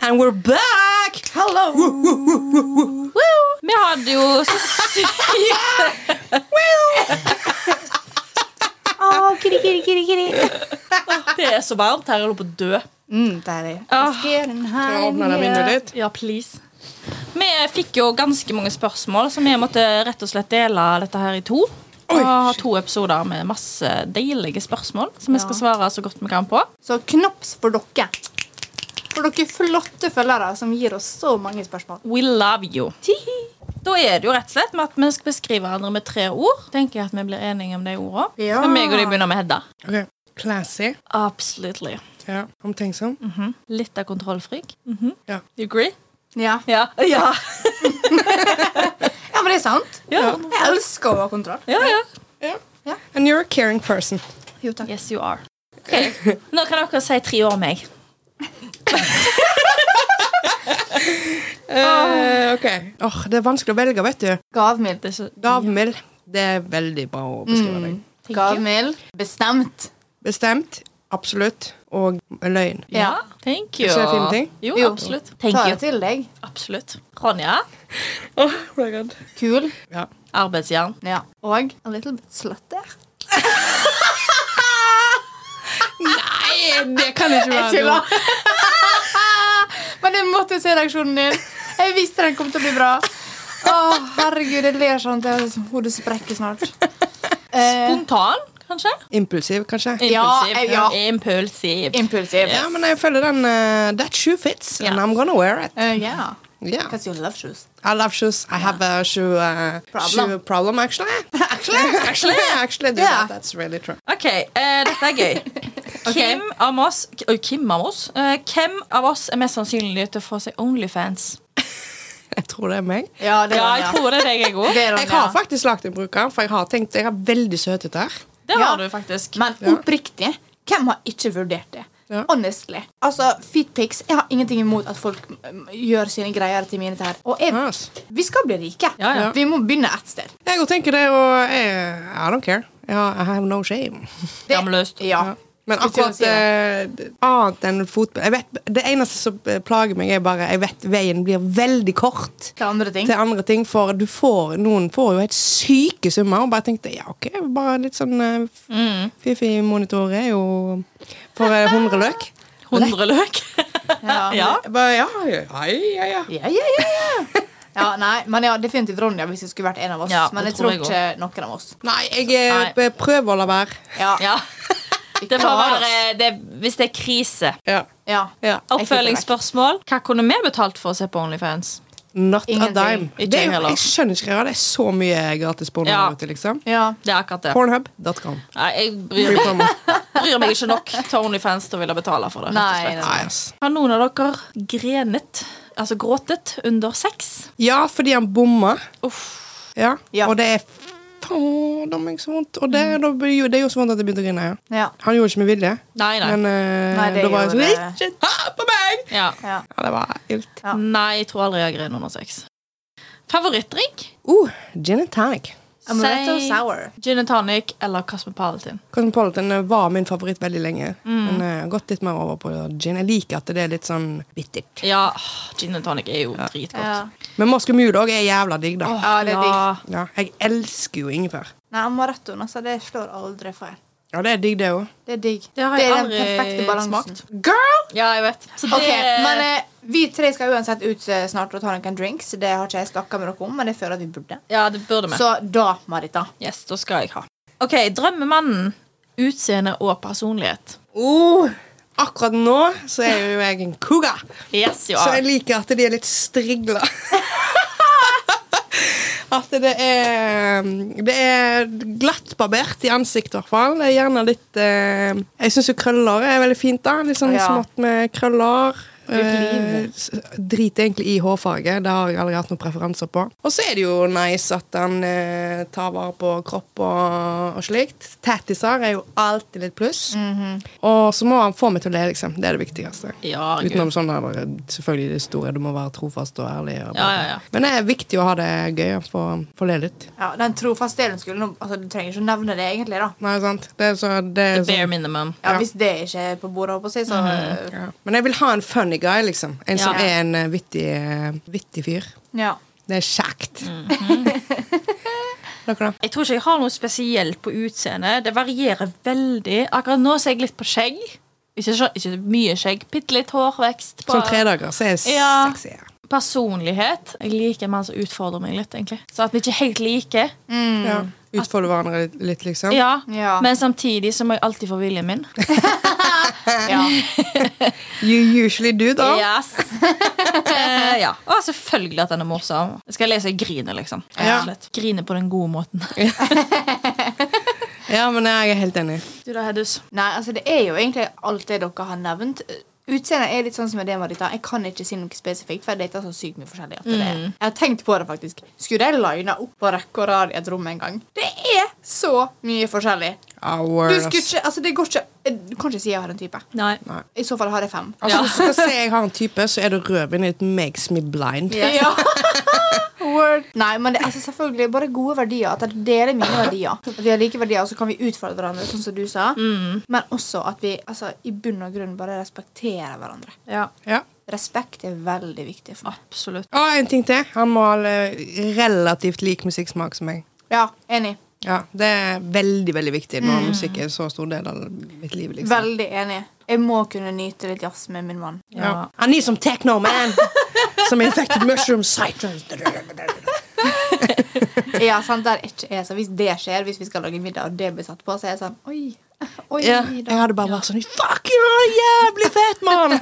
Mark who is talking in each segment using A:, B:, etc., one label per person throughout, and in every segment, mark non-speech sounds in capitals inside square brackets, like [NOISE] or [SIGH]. A: And we're back! Hello!
B: Woo! Vi hadde jo så sykt
C: Å, kiri, kiri, kiri, kiri.
B: Det er så varmt her. Jeg holder på å dø.
C: Mm, deilig.
B: Ah.
A: Skal jeg åpne det vinduet ditt?
B: Ja, please. Vi fikk jo ganske mange spørsmål, så vi måtte rett og slett dele dette her i to.
A: Oi,
B: Og ha to episoder med masse deilige spørsmål som vi
C: Ja.
B: skal svare så godt vi kan på.
C: Så knaps for dere. For dere flotte følgere som gir oss så mange spørsmål.
B: We love you. Da er det jo rett og slett med at vi skal beskrive hverandre med tre ord. Tenker jeg at vi blir enige om de ordene.
C: Ja.
B: Skal meg og deg begynne med Hedda?
A: Ok, Classy.
B: Absolutely.
A: Ja, omtenksom.
B: Litt av kontrollfrik.
A: Ja.
B: You agree?
C: Ja.
B: Ja. Ja.
C: ja, men det er sant.
B: Ja.
C: Jeg elsker å ha kontroll.
B: ja, ja.
A: And you're a caring person.
C: Jo, takk.
B: Yes, you are. Nå kan dere si tre ord om meg.
A: Eh, ok. Åh, Det er vanskelig å velge, vet du.
C: Gavmild.
B: Det er så
A: Gavmild. Det er veldig bra å beskrive deg.
B: Thank you.
C: Gavmild. Bestemt.
A: Bestemt. Absolutt. Og løgn.
B: Ja, thank you.
A: Ikke en fin ting?
B: Jo,
C: Jo.
B: absolutt. Thank
C: Ta det
B: you.
C: til deg.
B: Absolutt. Ronja,
C: Kul.
A: Ja.
B: arbeidsjern.
C: Ja. Og a little bit slutty.
A: Nei, det kan [LAUGHS] ikke
C: Jeg
A: være noe.
C: tuller. [LAUGHS] Men jeg måtte se reaksjonen din. Jeg visste den kom til å bli bra. Å, herregud, jeg ler sånn at jeg- hodet sprekker snart. Eh,
B: Spontan, kanskje?
A: Impulsiv, kanskje.
C: Ja,
B: Impulsiv.
C: eh, ja.
B: Impulsiv.
C: impulsiv.
A: Ja, men jeg føler den eh, That shoe fits, and
B: Ja.
A: I'm gonna wear it.
C: Eh, yeah.
A: Yeah.
C: you love shoes.
A: I love shoes. I have a shoe, uh,
C: Problem.
A: shoe problem, actually. [LAUGHS] actually, actually, actually, do
C: Yeah.
A: that. That's really true. [LAUGHS]
B: OK, eh, dette er
C: [LAUGHS]
B: gøy. Kim av oss Oi, Kim av oss? Eh, hvem av oss er mest sannsynlig til å få seg Onlyfans?
A: Jeg tror det er meg.
C: Ja, det
B: Ja,
C: var
B: jeg
C: det.
B: tror det er deg, jeg òg.
C: Det er
A: Jeg
C: Ronja.
A: har faktisk lagt en bruker, for jeg har tenkt jeg har veldig søte tær.
B: Det har
C: Ja.
B: du faktisk.
C: Men oppriktig, hvem har ikke vurdert det?
A: Ja.
C: Honestly. Altså, Feetpics Jeg har ingenting imot at folk mm, gjør sine greier til mine tær. Og jeg,
A: Yes.
C: vi skal bli rike.
B: Ja, ja.
C: Vi må begynne ett sted.
A: Jeg går og tenker det, og jeg, I don't care. Jeg har, I have no shame.
C: Det-
B: Skamløst.
C: Ja.
A: Men
C: Skulle til å
A: akkurat
C: si det.
A: eh, annet enn fotball jeg vet, Det eneste som eh, plager meg, er bare jeg vet veien blir veldig kort
C: Til andre ting.
A: til andre ting. For du får, noen får jo helt syke summer. Og bare tenkte ja, OK, bare litt sånn eh, Fifi-monitor er jo for eh, 100 løk.
B: 100 løk.
C: Ja.
B: ja.
A: Jeg Bare, ja, ja, ja, ja.
C: Ja, ja, ja, ja. ja, nei, men ja, definitivt Ronja hvis det skulle vært en av oss.
B: Ja,
C: men
B: det
C: jeg
B: tror
C: tror
B: jeg
C: ikke noen av oss.
A: Nei, jeg eh,
B: Nei.
A: prøver å la være.
C: Ja,
B: ja.
C: vi
B: Det får
C: klarer
B: være eh,
C: oss.
B: det, hvis det er krise.
A: Ja.
C: ja.
A: ja.
B: Oppfølgingsspørsmål. Hva kunne vi betalt for å se på Onlyfans?
A: Not
C: Ingenting.
A: a dime.
B: Ikke
A: Det er,
B: jeg
A: jo-
B: heller.
A: jeg skjønner ikke, ja, det er så mye gratis porno
B: Ja.
A: der ute, liksom.
C: ja.
B: Det er akkurat det. [LAUGHS]
A: Pornhub.com.
B: Nei, jeg bryr,
A: Free promo.
B: bryr meg ikke nok til Onlyfans til å ville betale for det. rett og
C: Nei,
B: slett.
C: nei.
A: Nei, ass.
B: Har noen av dere grenet, altså gråtet, under sex?
A: Ja, fordi han bomma.
B: Uff.
A: Ja.
C: Ja.
A: Og det er faen det er så vondt. Og det, da blir jo- det er jo så vondt at jeg begynte å grine. Ja.
C: ja.
A: Han gjorde ikke med vilje,
B: Nei, nei.
A: men eh,
C: Nei, det
A: da var jeg
C: gjorde
A: sånn Ikke ta på meg!
B: ja.
C: ja.
A: Ja, det var ilt.
C: Ja.
B: Nei, jeg tror aldri jeg har grenet under sex. Favorittdrikk?
A: Uh, gin and tonic.
C: Amaretto
B: Si
C: sour.
B: Gin and tonic eller Cosmopolitan.
A: Cosmopolitan eh, var min favoritt veldig lenge,
B: Mm.
A: men eh, jeg har gått litt mer over på gin. Jeg liker at det er litt sånn bittert.
B: Ja, åh, gin and tonic er jo
C: Ja.
B: dritgodt.
A: Men moskomule òg er jævla digg, da.
B: Åh,
C: Ja, det er
A: Ja, jeg elsker jo ingefær.
C: Nei, amarettoen, altså, det slår aldri feil.
A: Ja, det er digg, det òg.
C: Det er digg.
B: Det har jeg
C: er den perfekte
B: aldri
C: balansen.
B: smakt.
A: Girl!
B: Ja, jeg vet. Så det
C: Ok, men eh, Vi tre skal uansett ut eh, snart og ta noen drinks. Det har ikke jeg snakka med dere om, men jeg føler at vi burde.
B: Ja, det burde vi.
C: Så da, Marita.
B: Yes, da skal jeg ha. Ok, Drømmemannen. Utseende og personlighet.
A: Oh, akkurat nå så er jo jeg en cougar.
B: Yes, you
A: Så
B: are.
A: jeg liker at de er litt
B: [LAUGHS]
A: strigla. At det er um, Det er glattbarbert i ansiktet, i hvert fall. Det er gjerne litt eh, Jeg syns jo krøller er veldig fint, da. Litt sånn
C: Ja.
A: smått med krøller.
C: liv.
A: Eh, s- Driter egentlig i hårfarge. Det har jeg aldri hatt noen preferanser på. Og så er det jo nice at han eh, tar vare på kropp og, og slikt. Tattiser er jo alltid litt pluss. Og så må han få meg til å le, liksom. Det er det viktigste.
B: Mhm. Ja, gud.
A: Utenom sånn der, selvfølgelig det store. Du må være trofast og ærlig. Og
B: Ja, ja, ja.
A: Men det er viktig å ha det gøy og få- få le litt.
C: Ja, Den trofaste delen skulle nå- altså, Du trenger ikke å nevne det, egentlig. da
A: Nei, sant? Det er så, det er
B: Bare
A: sånn-
B: minimum.
C: Ja,
A: Ja.
B: Mhm.
C: Hvis det ikke er på bordet, holdt på å si, så eh,
A: ja. Men jeg vil ha en funny funny guy, liksom. En som
B: Ja.
A: er en eh, vittig, eh, vittig fyr.
C: Ja.
A: Det er kjekt.
B: Mhm.
A: [LAUGHS]
B: [LAUGHS]
A: Dere, da?
B: Jeg tror ikke jeg har noe spesielt på utseendet. Det varierer veldig. Akkurat nå ser jeg litt på skjegg. Ikke, så- ikke mye skjegg. Bitte litt hårvekst. På
A: Sånn tre dager, så er jeg
B: Ja.
A: sexy. ja.
B: personlighet. Jeg liker en mann som utfordrer meg litt, egentlig. Så at vi ikke er helt like.
A: Ja. Utfolde hverandre litt, litt, liksom.
B: Mm. Ja.
C: Ja.
B: Men samtidig så må jeg alltid få viljen min.
C: ja.
A: You usually do, da. [LAUGHS]
B: Yes. Eh, ja. Og selvfølgelig at den er morsom. Jeg skal lese og grine, liksom.
A: Ja.
B: Rett og slett. Grine på den gode måten.
A: Ja, men jeg er helt enig.
B: [LAUGHS] Du da, Hedus.
C: Nei, altså det er jo egentlig alt det dere har nevnt. Utseendet er litt sånn som med det Marita. Jeg kan ikke si noe spesifikt, for jeg dater så sykt mye forskjellig. at det er. Jeg har tenkt på det, faktisk. Skulle jeg lina opp på rekke og rad i et rom en gang? Det er så mye forskjellig.
A: Ah,
C: Du
A: word,
C: skulle
A: ass.
C: ikke, altså det går ikke Du kan ikke si jeg har en type.
B: Nei.
A: Nei.
C: I så fall har jeg fem.
A: Altså,
B: Ja.
A: Hvis du skal si jeg har en type, så er det rødvin. It makes me blind.
C: Ja. [LAUGHS] Word. Nei, men det, altså selvfølgelig bare gode verdier. At jeg deler mine verdier. At vi har like verdier, og så kan vi utfordre hverandre, sånn som du sa. Men også at vi altså, i bunn og grunn bare respekterer hverandre.
B: Ja,
A: Ja.
C: Respekt er veldig viktig for meg.
B: absolutt.
A: Og en ting til. Han må ha eh, relativt lik musikksmak som meg.
C: Ja, enig.
A: Ja, Det er veldig veldig viktig når
B: Mm.
A: musikk er en så stor del av mitt liv. liksom.
C: Veldig enig. Jeg må kunne nyte litt jazz med min mann.
A: Ja.
B: Ja.
A: I need some techno,
B: [LAUGHS]
A: man! Som infected mushroom citrus.
C: Ja, sant, der er ikke jeg, så Hvis det skjer, hvis vi skal lage middag, og det blir satt på, så er jeg sånn Oi. [LAUGHS] Oi
A: Ja, jeg
C: da.
A: hadde bare vært sånn Fuck, you are jævlig fett, mann!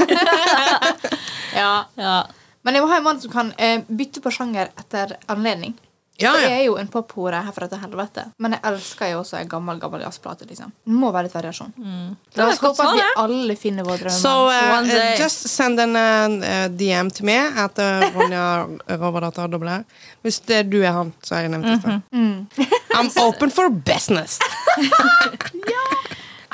C: Ja.
B: Ja.
C: Men jeg må ha en mann som kan eh, bytte på sjanger etter anledning.
A: Ja,
C: For
A: ja.
C: Jeg er jo en pophore herfra til helvete, men jeg elsker jo også en gammel gammel jazzplate. liksom. Det må være litt variasjon. La oss
B: Det er godt
C: håpe at vi
B: svar,
C: alle finner vår drømmemann.
A: So uh,
B: One day.
A: uh, just send en uh, DM til meg at uh, Ronja Rovardata dobler. Hvis det er du er han, så har jeg nevnt det før.
B: Mhm. Mm.
A: I'm open for business.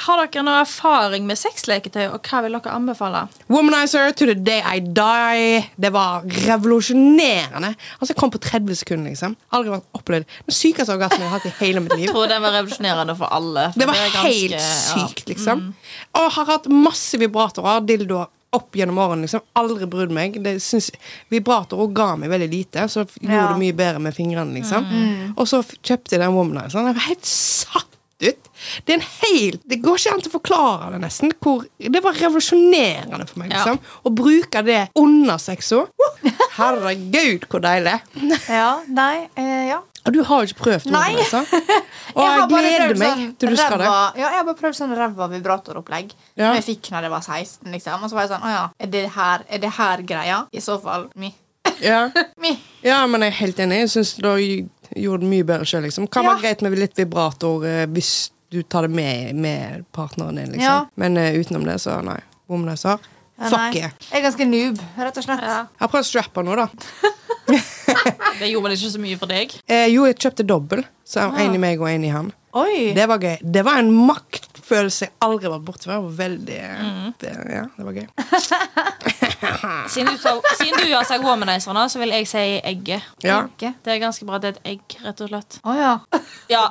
B: Har dere noe erfaring med sexleketøy, og hva vil dere anbefale?
A: Womanizer to the day I die. Det var revolusjonerende. Altså, jeg kom på 30 sekunder, liksom. Aldri vært opplevd. Den sykeste orgasmen jeg har hatt i hele mitt liv.
B: Jeg tror den var revolusjonerende for alle. for
A: Det var
B: er ganske-
A: helt sykt, liksom.
C: Mm.
A: Og har hatt masse vibratorer, dildoer, opp gjennom årene. liksom. Aldri brydd meg. Det syns- Vibratorer ga meg veldig lite, så f- gjorde
C: Ja. Mm.
A: det mye bedre med fingrene, liksom. Og så f- kjøpte jeg den womanizeren. Jeg var helt satt ut. Det er en helt, det går ikke an til å forklare det, nesten. Hvor, det var revolusjonerende for meg.
B: Ja.
A: liksom. Å bruke det under sexo. Woo! Herregud, hvor deilig.
C: [LAUGHS] Ja, nei, eh, ja.
A: Og du har jo ikke prøvd
C: Nei.
A: womanizer. Og
C: har bare prøvd
A: jeg, gleder meg
C: sånn
A: til du skal det.
C: ræva- Ja, jeg har bare prøvd sånn ræva vibratoropplegg.
A: Ja.
C: Som jeg fikk når jeg var 16. liksom. Og så var jeg sånn Å ja, er det her, er det her greia? I så fall mi.
A: Ja.
C: mi.
A: Ja, men jeg er helt enig. Jeg syns du har gjort det mye bedre sjøl. Liksom. Kan
C: Ja.
A: være greit med litt vibrator eh, hvis du tar det med, med partneren din, liksom.
C: Ja.
A: Men eh, utenom det, så nei. Womanizer.
C: Ja,
A: Fuck
C: nei.
A: yeah.
C: Jeg er ganske noob, rett og slett.
B: Ja.
A: Jeg har prøvd strapper nå, da.
B: Det gjorde vel ikke så mye for deg?
A: Eh, jo, jeg kjøpte dobbel. Så
C: Ah.
A: en i meg og en i han.
C: Oi!
A: Det var gøy. Det var en maktfølelse jeg aldri har vært borti før. Veldig
C: Mm.
A: det, Ja, det var gøy. Ah.
B: Siden du, tar, siden du har sagt womanizer nå, så vil jeg si egget.
A: Ja.
C: Ikke?
B: Det er ganske bra. Det er et egg, rett og slett.
C: Å ja.
B: Ja,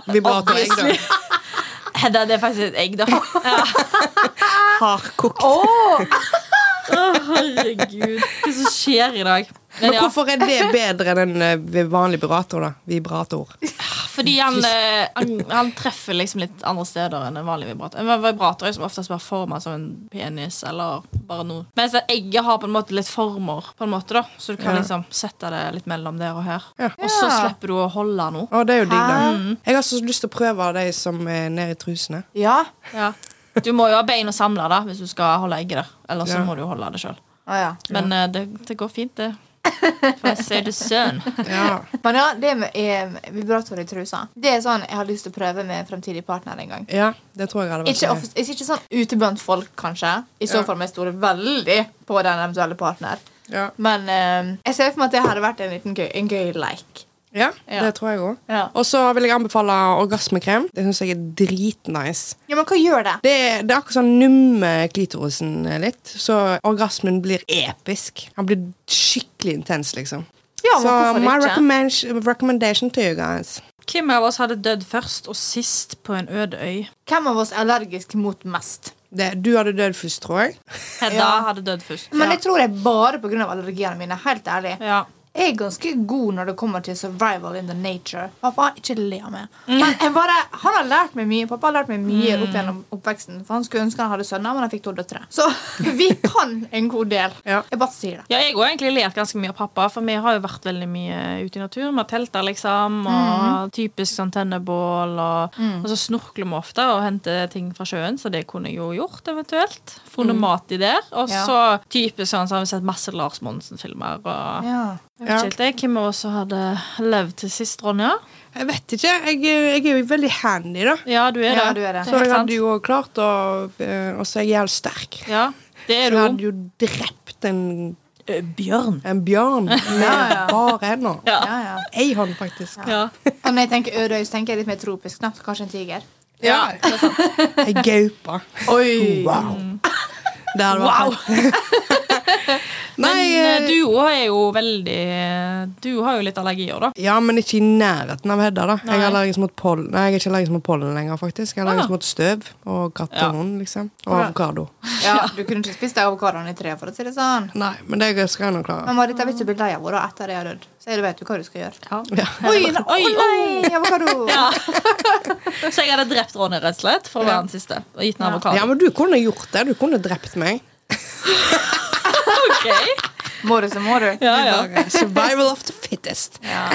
B: [LAUGHS]
A: Vibrator. jeg, da.
B: Hedda, det er faktisk et egg,
A: [LAUGHS]
B: da. Ja.
A: Hardkokt.
B: Å, herregud. Hva som skjer i dag? Men
A: Men
B: ja,
A: hvorfor er det bedre enn en eh, vanlig vibrator, da? Vibrator.
B: fordi han, eh, han, han treffer liksom litt andre steder enn en vanlig vibrator. En vibrator er som oftest bare forma som en penis eller bare noe. Mens det egget har på en måte litt former, på en måte da så du kan
A: Ja.
B: liksom sette det litt mellom der og her.
A: Ja.
B: Og så
C: Ja.
B: slipper du å holde noe.
A: Å, det er jo digg, da.
C: Hæ?
A: Jeg har så lyst til å prøve av de som er nede
C: [LAUGHS]
A: i trusene.
C: [LAUGHS] Ja.
B: Ja. Du må jo ha bein å samle da hvis du skal holde egget der. Eller så
A: Ja.
B: må du jo holde det sjøl.
C: Å, ja.
B: Men eh, det, det går fint, det. For jeg ser det sånn. søren.
A: Ja.
C: Men ja, det med eh, vibrator i trusa Det er sånn jeg har lyst til å prøve med en fremtidig partner en gang.
A: ja, det tror jeg hadde vært
C: Ikke,
A: gøy.
C: off- ikke sånn ute blant folk, kanskje. I så
A: Ja.
C: fall må jeg stole veldig på den eventuelle partner.
A: ja.
C: Men eh, jeg ser for meg at det hadde vært en liten gøy, en gøy leik.
A: Ja,
C: Ja.
A: det tror jeg òg.
C: Ja.
A: Og så vil jeg anbefale orgasmekrem. Det syns jeg er dritnice.
C: Ja, men hva gjør det?
A: Det, er- det er akkurat sånn numme klitorisen litt, så orgasmen blir episk. Han blir skikkelig intens, liksom.
C: Ja, men
A: så my
C: hvorfor ikke?
A: recommend- recommendation to you guys.
B: Hvem av oss hadde dødd først og sist på en øde øy?
C: Hvem av oss er allergisk mot mest?
A: Det, du hadde dødd først, tror jeg.
B: Hedda
C: Ja.
B: hadde dødd først.
C: Men jeg tror det er bare pga. allergiene mine. Helt ærlig.
B: Ja.
C: Jeg er ganske god når det kommer til survival in the nature. Pappa, ikke le av meg. Men jeg bare, han har lært meg mye. Pappa har lært meg mye opp gjennom oppveksten. For Han skulle ønske han hadde sønner, men han fikk to døtre. Så [LAUGHS] vi kan en god del.
A: Ja.
C: Jeg bare sier det.
B: Ja, jeg har egentlig lært ganske mye av pappa, for vi har jo vært veldig mye ute i naturen. Vi har telta, liksom, og
C: Mhm.
B: typisk sånn tennebål, og, og så snorkler vi ofte og henter ting fra sjøen, så det kunne jeg jo gjort, eventuelt. Funnet mat i der. Og
C: Mhm. Ja.
B: så typisk sånn, så har vi sett masse Lars Monsen-filmer, og
C: Ja.
B: jeg vet ikke helt jeg, hvem av oss som hadde levd til sist, Ronja?
A: Jeg vet ikke. Jeg, jeg er jo veldig handy, da.
B: Ja, du er
C: Ja,
B: det.
C: du er det.
A: Så
B: Helt
A: jeg
B: sant.
A: hadde jo også klart å eh, Og så er jeg jævlig sterk.
B: Ja, det er
A: Så jeg hadde
B: du.
A: jo drept en,
B: Eh, Bjørn.
A: en
B: [LAUGHS]
A: bjørn med
C: Ja, ja.
A: bare hender.
B: Ja.
C: Ja, ja.
A: Ei hånd, faktisk.
B: Ja.
C: Og når jeg tenker ødøy, så tenker jeg litt mer tropisk. Da. Kanskje en tiger.
B: Ja.
A: Ei gaupe.
C: Oi!
A: Wow. Det hadde vært
B: Wow!
A: [LAUGHS] fett.
B: Men
A: Nei,
B: eh,
A: eh,
B: du òg er jo veldig Du har jo litt allergier, da.
A: Ja, men ikke i nærheten av Hedda, da. Jeg
B: Nei.
A: er allergisk mot pollen. Nei, jeg er ikke allergisk mot pollen lenger, faktisk. Jeg er allergisk
B: Ah.
A: mot støv og katt
B: Ja.
A: og hund, liksom. Og
C: Ja.
A: avokado.
C: Ja, du kunne ikke spist de avokadoene i tre, for å si det sånn.
A: Nei, men det skal jeg nå klare.
C: Men Marita, hvis du blir lei av henne da, etter at jeg har dødd, så vet du hva du skal gjøre.
A: Ja.
C: Oi, ne-
B: Oi,
C: å nei, avokado!
B: Ja. [LAUGHS] Så jeg hadde drept Ronny rett og slett for å være den siste. Og gitt den
A: ja,
B: avokado.
A: men du kunne gjort det. Du kunne drept meg.
B: [LAUGHS] Ok.
C: Må du, så må du.
B: Ja, [LAUGHS] ja.
A: Bare Survival of the fittest.
C: Ja.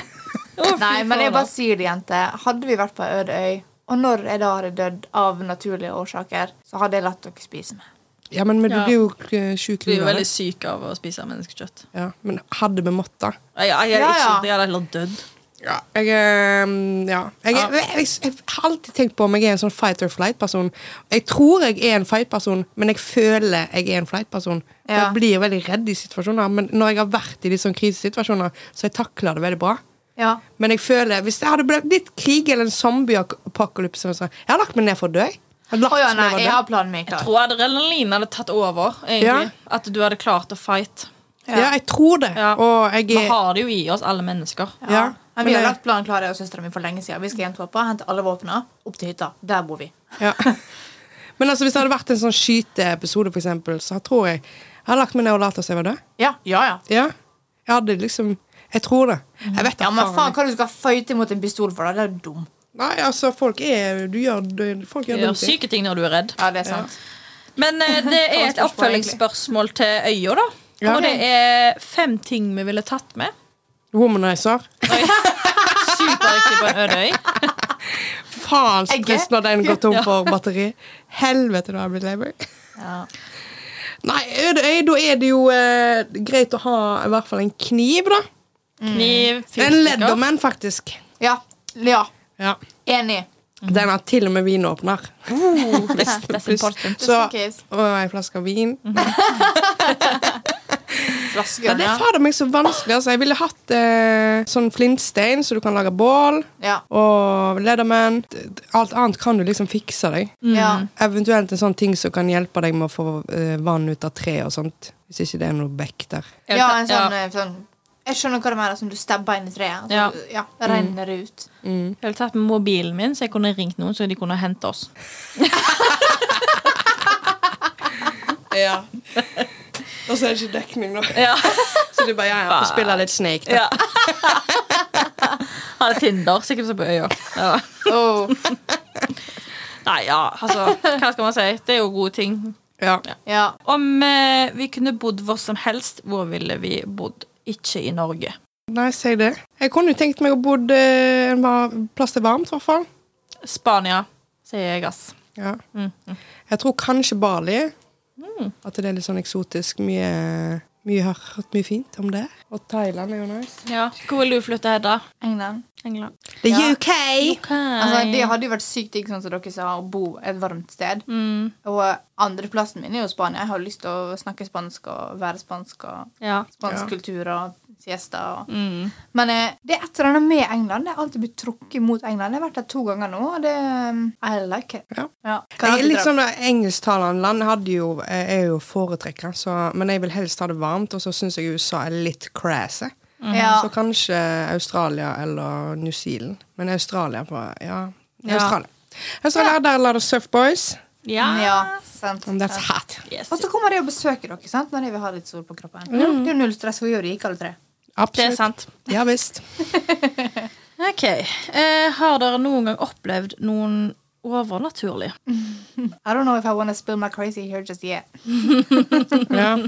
B: Å, fy
C: Nei, men jeg
B: fader.
C: bare sier det, jente. Hadde vi vært på en øde øy, og når jeg da hadde dødd av naturlige årsaker, så hadde jeg latt dere spise meg.
A: Ja, men, men du
B: Ja.
A: blir jo eh, sjuk
B: Du er jo
A: livet.
B: veldig syk av å spise menneskekjøtt.
A: Ja, men hadde vi måttet
B: Jeg, jeg, jeg,
C: Ja,
B: ikke,
C: ja.
B: jeg hadde heller dødd.
A: Ja. Jeg, ehm, ja. Jeg,
B: Ja.
A: Jeg, jeg, jeg har alltid tenkt på om jeg er en sånn fight or flight-person. Jeg tror jeg er en fight-person, men jeg føler jeg er en flight-person. For
C: Ja.
A: Jeg blir veldig redd i situasjoner, men når jeg har vært i de sånne krisesituasjoner, så jeg takler det veldig bra.
C: Ja.
A: Men jeg føler, hvis det hadde blitt litt krig eller en zombie-apokalypse eller sånn, Jeg har lagt meg ned for å dø. jeg. Jeg har lagt
C: Å ja, nei,
A: meg ned for å dø.
C: jeg har planen min
B: Jeg
C: klar.
B: tror adrenalin hadde tatt over.
A: Ja.
B: egentlig At du hadde klart å fight.
A: ja. jeg tror det.
B: Ja.
A: Og jeg
B: Vi
A: er
B: har det jo i oss, alle mennesker.
A: ja.
C: Men vi
A: Men
C: har
A: det-
C: lagt planen klar, jeg og søstera mi, for lenge siden. Vi skal hjem til pappa, hente alle våpnene, opp til hytta. Der bor vi.
A: Ja. [LAUGHS] Men altså, hvis det hadde vært en sånn skyteepisode, for eksempel, så tror jeg Jeg hadde lagt meg ned og latt oss jeg var død.
C: Ja, ja, ja.
A: Ja. Jeg hadde liksom Jeg tror det. Jeg vet da
C: Ja, men
A: faen.
C: faen, hva du skal fighte mot en pistol for, da? Det er jo dum.
A: Nei, altså, folk er Du gjør, du- folk
B: Du
A: gjør
B: gjør
A: dumme ting.
B: syke ting når du er redd.
C: Ja, det er sant.
B: Men [LAUGHS] eh, det er et
C: spørsmålet,
B: oppfølgingsspørsmål til øya, da.
A: Ja.
B: Og det er fem ting vi ville tatt [LAUGHS] med.
A: Womanizer.
B: Superriktig på en øde øy.
A: Faen så
C: Egget.
A: trist når den går tom for batteri. Helvete, da har jeg blitt lei meg.
C: Ja.
A: Nei, øde øy, da er det jo eh, greit å ha i hvert fall en kniv, da.
B: Kniv,
C: Mm.
A: En
B: fyrstikker.
A: Leatherman, faktisk.
C: ja. ja.
A: Ja.
C: Enig.
A: Den har til og med vinåpner. [LAUGHS]
B: Best, best
A: Pluss-
B: important.
A: Så,
C: Mm. Just in case.
A: og ei flaske vin. Ja,
C: Flasker,
A: det er
C: ja.
A: fader meg så vanskelig. Altså. Jeg ville hatt eh, sånn flintstein, så du kan lage bål.
C: Ja.
A: Og Leatherman. D- d- Alt annet kan du liksom fikse deg.
C: ja.
A: Eventuelt en sånn ting som kan hjelpe deg med å få eh, vann ut av tre og sånt. Hvis ikke det er noe bekk der.
B: Jeg
C: Ja,
B: vet-
C: en sånn, eh, sånn Jeg skjønner hva du mener, som du stabber inn i treet.
B: Ja.
C: Altså, ja, det renner det ut.
B: Jeg ville tatt med mobilen min, så jeg kunne ringt noen, så de kunne hente oss.
A: Ja. [LAUGHS] og så er det ikke dekning nå.
B: [LAUGHS] Ja.
A: Så du bare ja, ja,
B: får spille
A: litt Snake.
B: ja. Hadde Tinder, sikkert som på øya. Ja.
C: Oh,
B: Nei, ja, altså, hva skal man si? Det er jo gode ting.
A: Ja.
C: ja.
B: Om eh, vi kunne bodd hvor som helst, hvor ville vi bodd? Ikke i Norge.
A: Nei, si det. Jeg kunne jo tenkt meg å bo eh, en var- plass det er varmt, i hvert fall.
B: Spania, sier jeg, ass.
A: Ja.
B: Mm.
A: Jeg tror kanskje Bali. At det er litt sånn eksotisk. Mye, mye jeg har hørt mye fint om det. Og Thailand er jo nice.
B: Ja. Hvor vil du flytte, Hedda?
C: England.
B: England.
A: The
C: Ja.
A: UK!
C: Altså, det hadde jo vært sykt digg, sånn som dere sa, å bo et varmt sted.
B: Mm,
C: Og eh, andreplassen min er jo Spania. Jeg har lyst til å snakke spansk og være spansk og
B: ja.
C: spansk
A: Ja.
C: kultur og siesta og
B: Mm.
C: Men eh, det er et eller annet med England. Jeg har alltid blitt trukket mot England. Jeg har vært der to ganger nå, og det eh, I like it.
A: Ja.
C: Kan
A: Jeg er
C: alltid
A: litt
C: dra-
A: sånn da, Engelsktalende land hadde jo, jeg er jo foretrekker, så, men jeg vil helst ha det varmt. Og så syns jeg USA er litt crazy.
C: ja.
A: Mm, Så kanskje Australia eller New Zealand. Men Australia på, ja,
B: Ja.
A: Australia. Australia, Der la det Surf Boys.
B: Mm, Ja.
C: Ja, sant.
A: And that's hot.
B: Yes.
C: Og så kommer de og besøker dere sant? når de vil ha litt sol på kroppen. Det er jo null stress. Hun gjør det ikke alle tre.
B: Det er
A: Absolutt.
B: sant.
A: Ja visst.
B: Ok. Eh, har dere noen gang opplevd noen overnaturlig?
C: I don't know if I wanna spill my crazy here just yet.
A: Ja.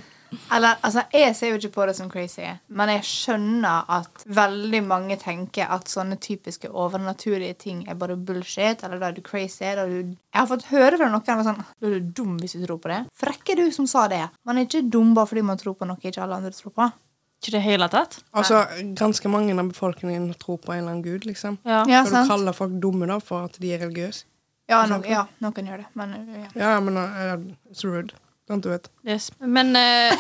C: Eller, altså, Jeg ser jo ikke på det som crazy, men jeg skjønner at veldig mange tenker at sånne typiske overnaturlige ting er bare bullshit, eller da er du crazy. Da er du Jeg har fått høre fra noen som er sånn Da er du dum hvis du tror på det. Frekk er du som sa det. Man er ikke dum bare fordi man tror på noe ikke alle andre tror på.
B: Ikke det hele tatt?
A: Altså, ganske mange av befolkningen tror på en eller annen gud, liksom.
B: Ja.
C: Ja,
A: Skal du
C: sant?
A: kalle folk dumme da for at de er religiøse?
C: Ja, no, ja, noen gjør det, men ja.
A: Ja, men uh, it's rude. Sant du vet.
B: Yes. Men eh,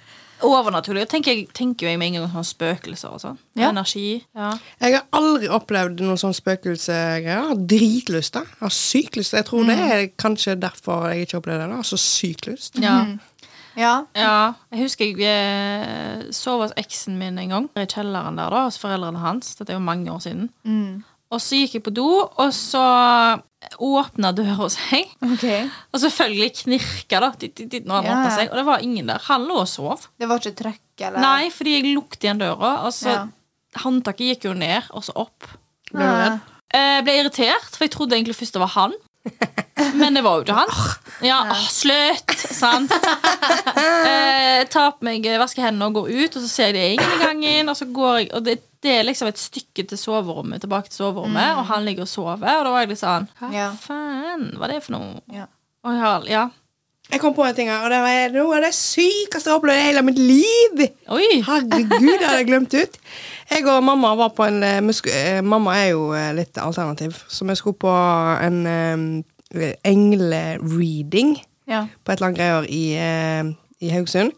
B: [LAUGHS] overnaturlig tenker, jeg- tenker jo jeg med en gang sånn spøkelser og sånn.
C: Ja.
B: Energi. Ja.
A: Jeg har aldri opplevd noen sånn spøkelsegreier. Jeg har dritlyst. da. Jeg har sykt lyst. Jeg tror det er kanskje derfor jeg ikke opplevde det. da. Altså sykt lyst.
B: Ja.
C: Mhm. Mm. ja.
B: Ja, jeg husker jeg eh, sov hos eksen min en gang i kjelleren der da, hos foreldrene hans. Dette er jo mange år siden.
C: Mm.
B: Og så gikk jeg på do, og så åpna døra seg.
C: OK.
B: Og selvfølgelig knirka da, dit, dit, dit, når den
C: Ja.
B: åpna seg, og det var ingen der. Han lå og sov.
C: Det var ikke trøkk, eller
B: Nei, fordi jeg lukket igjen døra, og så
C: Ja.
B: Håndtaket gikk jo ned, og så opp.
A: Ble du redd?
B: Eh, Jeg ble irritert, for jeg trodde egentlig først det var han. Men det var jo ikke han. Ja, åh, Slutt! Sant? Eh, tar på meg, eh, vasker hendene og går ut, og så ser jeg det er ingen i gangen. Og, så går jeg, og det, det er liksom et stykke til soverommet, tilbake til soverommet, og han ligger og sover. Og da var jeg litt sånn Hva
C: Ja.
B: faen var det for noe?
C: Ja.
B: Og jeg har, ja.
A: Jeg kom på en ting her, og det var noe av det sykeste jeg har opplevd i hele mitt liv.
B: Oi!
A: Herregud, det hadde jeg glemt ut. Jeg og mamma var på en eh, vi sku- eh, Mamma er jo eh, litt alternativ, så vi skulle på en eh, englereading
C: Ja.
A: på et eller annet greier i, eh, i Haugesund.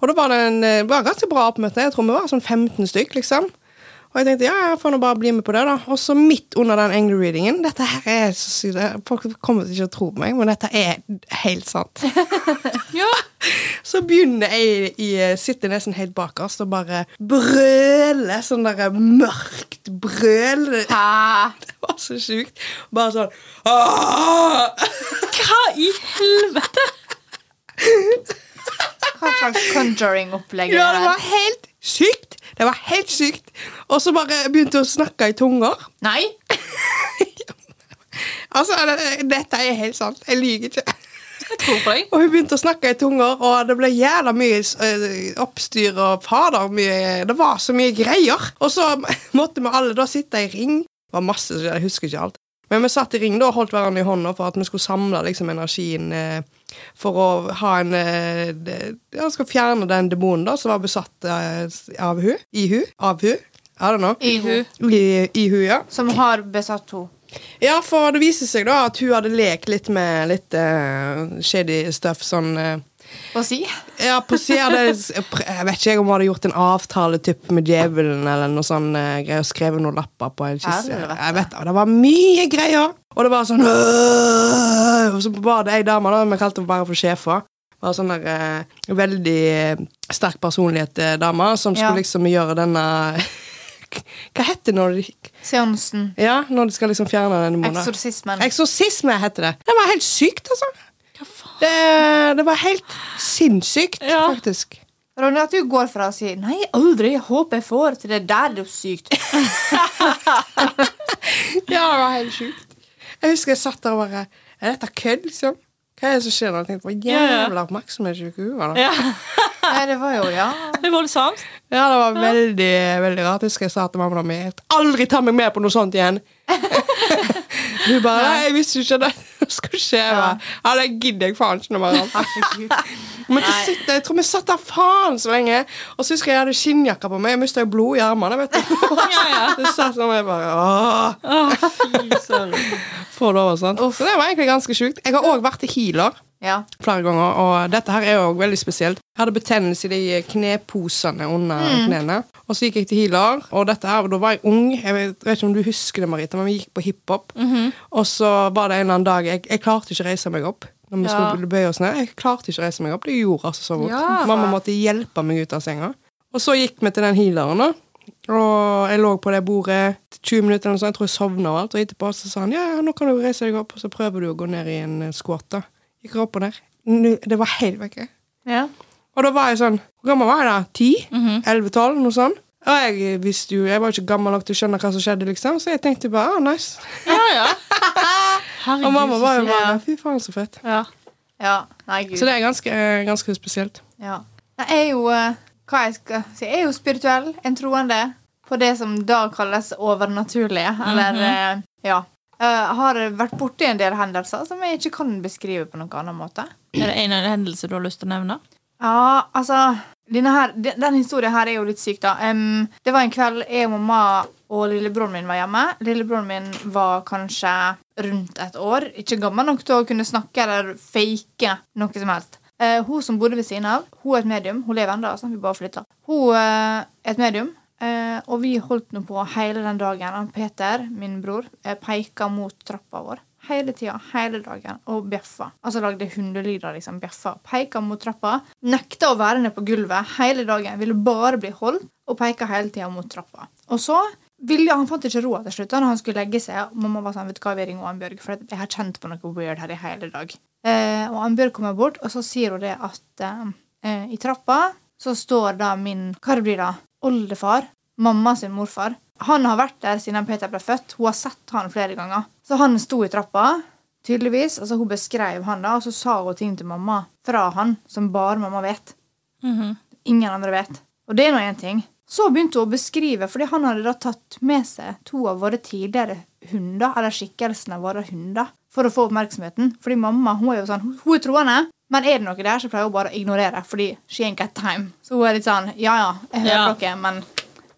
A: Og da var det en, eh, var ganske bra oppmøte. Jeg tror vi var sånn 15 stykk, liksom. Og jeg tenkte ja, jeg får nå bare bli med på det, da. Og så midt under den englereadingen Dette her er så sykt. Folk kommer ikke til å tro på meg, men dette er helt sant.
B: Ja.
A: Så begynner jeg i, eh, sitter nesten helt bakerst og bare brøler sånn der mørkt brøl. [LAUGHS] Det
C: Hæ?
A: var så sjukt. Bare sånn «Åh!»
B: Hva i helvete?
C: Hva slags conjuring-opplegg
A: Ja,
C: er
A: det
C: det?
A: var helt sykt! Det var helt sykt. Og så bare begynte jeg å snakke i tunger.
C: Nei?
A: Altså, det- dette er helt sant. Jeg lyver ikke.
B: Jeg tror på deg.
A: Og hun begynte å snakke i tunger, og det ble jævla mye eh, oppstyr og fader mye Det var så mye greier. Og så [LAUGHS] måtte vi alle da sitte i ring. Det var masse, så jeg husker ikke alt. Men vi satt i ring da og holdt hverandre i hånda for at vi skulle samle liksom, energien eh, for å ha en eh, det- Ja, skal fjerne den demonen da som var besatt eh, av hun. I hun. Av hun. I don't know.
C: I hun.
A: I, i hun, ja.
C: Som har besatt henne.
A: Ja, for det viser seg da at hun hadde lekt litt med litt eh, shady stuff sånn eh,
C: Å si?
A: Ja, på siden av det Jeg vet ikke jeg om hun hadde gjort en avtale typ, med djevelen eller noe sånn eh, greier, og skrevet noen lapper på en kiste.
C: Helvete.
A: Jeg vet, det, det var mye greier! Og det var sånn «Åh!» Og så var det ei dame, da, vi kalte henne bare for sjefa. Var sånn der eh, veldig eh, sterk personlighet-dame som
C: Ja.
A: skulle liksom gjøre denne [LAUGHS] Hva heter det når de,
C: Seansen.
A: ja, når de skal liksom fjerne den demonen?
C: Eksorsismen.
A: Eksorsisme heter det. Det var helt sykt, altså.
B: Hva faen?
A: Det, det var helt sinnssykt,
B: Ja.
A: faktisk.
C: Ronny, at du går fra å si 'nei, aldri, jeg håper jeg får', til 'det der er jo sykt'.
A: Ja, det var helt sjukt. Jeg husker jeg satt der og bare Er dette kødd, liksom? Hva er det som skjer når jeg tenkte på jævla oppmerksomhetssjuke hun var? da?
B: Ja,
C: Nei, det var jo ja.
B: det er voldsomt.
A: Ja, det var veldig veldig rart. Jeg husker jeg sa til mamma mi at aldri ta meg med på noe sånt [LAUGHS] igjen. Hun bare Nei, jeg visste ikke at det [LAUGHS] skulle skje. Jeg bare, Ja, det gidder jeg faen ikke. Noe mer av. Men til slutt, jeg tror vi satt der faen så lenge. Og så husker jeg jeg hadde skinnjakka på meg. Jeg mista jo blod i armene. vet du.
B: [LAUGHS] Ja, ja.
A: Så jeg satt sånn og jeg bare Åh.
B: Å, fy søren.
A: Få lov og sånt. Så det var egentlig ganske sjukt. Jeg har òg vært i healer
C: ja.
A: flere ganger, og dette her er jo òg veldig spesielt. Jeg hadde betennelse i de kneposene under knærne. Og så gikk jeg til healer, og dette her, da var jeg ung. Jeg vet, vet ikke om du husker det, Marita, men vi gikk på hiphop. Og så var det en eller annen dag Jeg, jeg klarte ikke å reise meg opp. Når vi
B: Ja.
A: skulle bøye oss ned. Jeg klarte ikke å reise meg opp. Det gjorde altså så vondt.
C: Ja, faen.
A: Mamma måtte hjelpe meg ut av senga. Og så gikk vi til den healeren, da. Og jeg lå på det bordet 20 minutter, eller noe sånt. jeg tror jeg sovna og alt. Og etterpå så sa han ja, ja, nå kan du reise deg opp, og så prøver du å gå ned i en eh, squat. da. Gikk opp og ned. Nu- Det var helt vekke.
C: Ja.
A: Og da var jeg sånn Hvor gammel var jeg da? Ti? Elleve-tolv? Noe sånt. Og jeg visste jo, jeg var ikke gammel nok til å skjønne hva som skjedde, liksom, så jeg tenkte bare ah, nice.
B: Ja, ja. Herregud,
A: Og mamma
B: så
A: var jo
B: fint.
A: bare fy faen, så fett.
B: ja.
C: ja. Nei, gud.
A: Så det er ganske, eh, ganske spesielt.
C: Ja. Nei, Jeg er jo eh, hva jeg skal si, jeg er jo spirituell, en troende, på det som da kalles overnaturlige. Eller eh, ja. Eh, har vært borti en del hendelser som jeg ikke kan beskrive på noen annen måte.
B: Er det en eller annen hendelse du har lyst til å nevne?
C: Ja, altså denne her, den, den historien her er jo litt syk, da. Em, det var en kveld jeg og mamma og lillebroren min var hjemme. Lillebroren min var kanskje rundt et år. Ikke gammel nok til å kunne snakke eller fake noe som helst. Eh, hun som bodde ved siden av, hun er et medium. Hun lever ennå, sånn, vi bare flytta. Hun eh, er et medium. Eh, og vi holdt nå på hele den dagen. Han Peter, min bror, eh, peka mot trappa vår. Hele tida, hele dagen, og bjeffa. Altså lagde hundelyder, liksom. Bjeffa. Peka mot trappa. Nekta å være nede på gulvet hele dagen. Ville bare bli holdt, og peka hele tida mot trappa. Og så ville, Han fant ikke råd til slutt da når han skulle legge seg. og Mamma var sånn, vet du hva, vi ringer Annbjørg, for jeg har kjent på noe weird her i hele dag. Eh, og Annbjørg kommer bort, og så sier hun det at eh, i trappa så står da min Hva det blir da? Oldefar. Mamma sin morfar. Han har vært der siden Peter ble født. Hun har sett han flere ganger. Så han sto i trappa, tydeligvis. Altså Hun beskrev han, da, og så sa hun ting til mamma fra han som bare mamma vet.
B: Mhm.
C: Ingen andre vet. Og det er nå én ting. Så begynte hun å beskrive, fordi han hadde da tatt med seg to av våre tidligere hunder, eller skikkelsen av våre hunder, for å få oppmerksomheten. Fordi mamma hun er jo sånn, hun- hun er troende, men er det noe der, så pleier hun bare å ignorere. Fordi she ain't got time. Så hun er litt sånn ja ja, jeg hører
B: Ja.
C: dere, men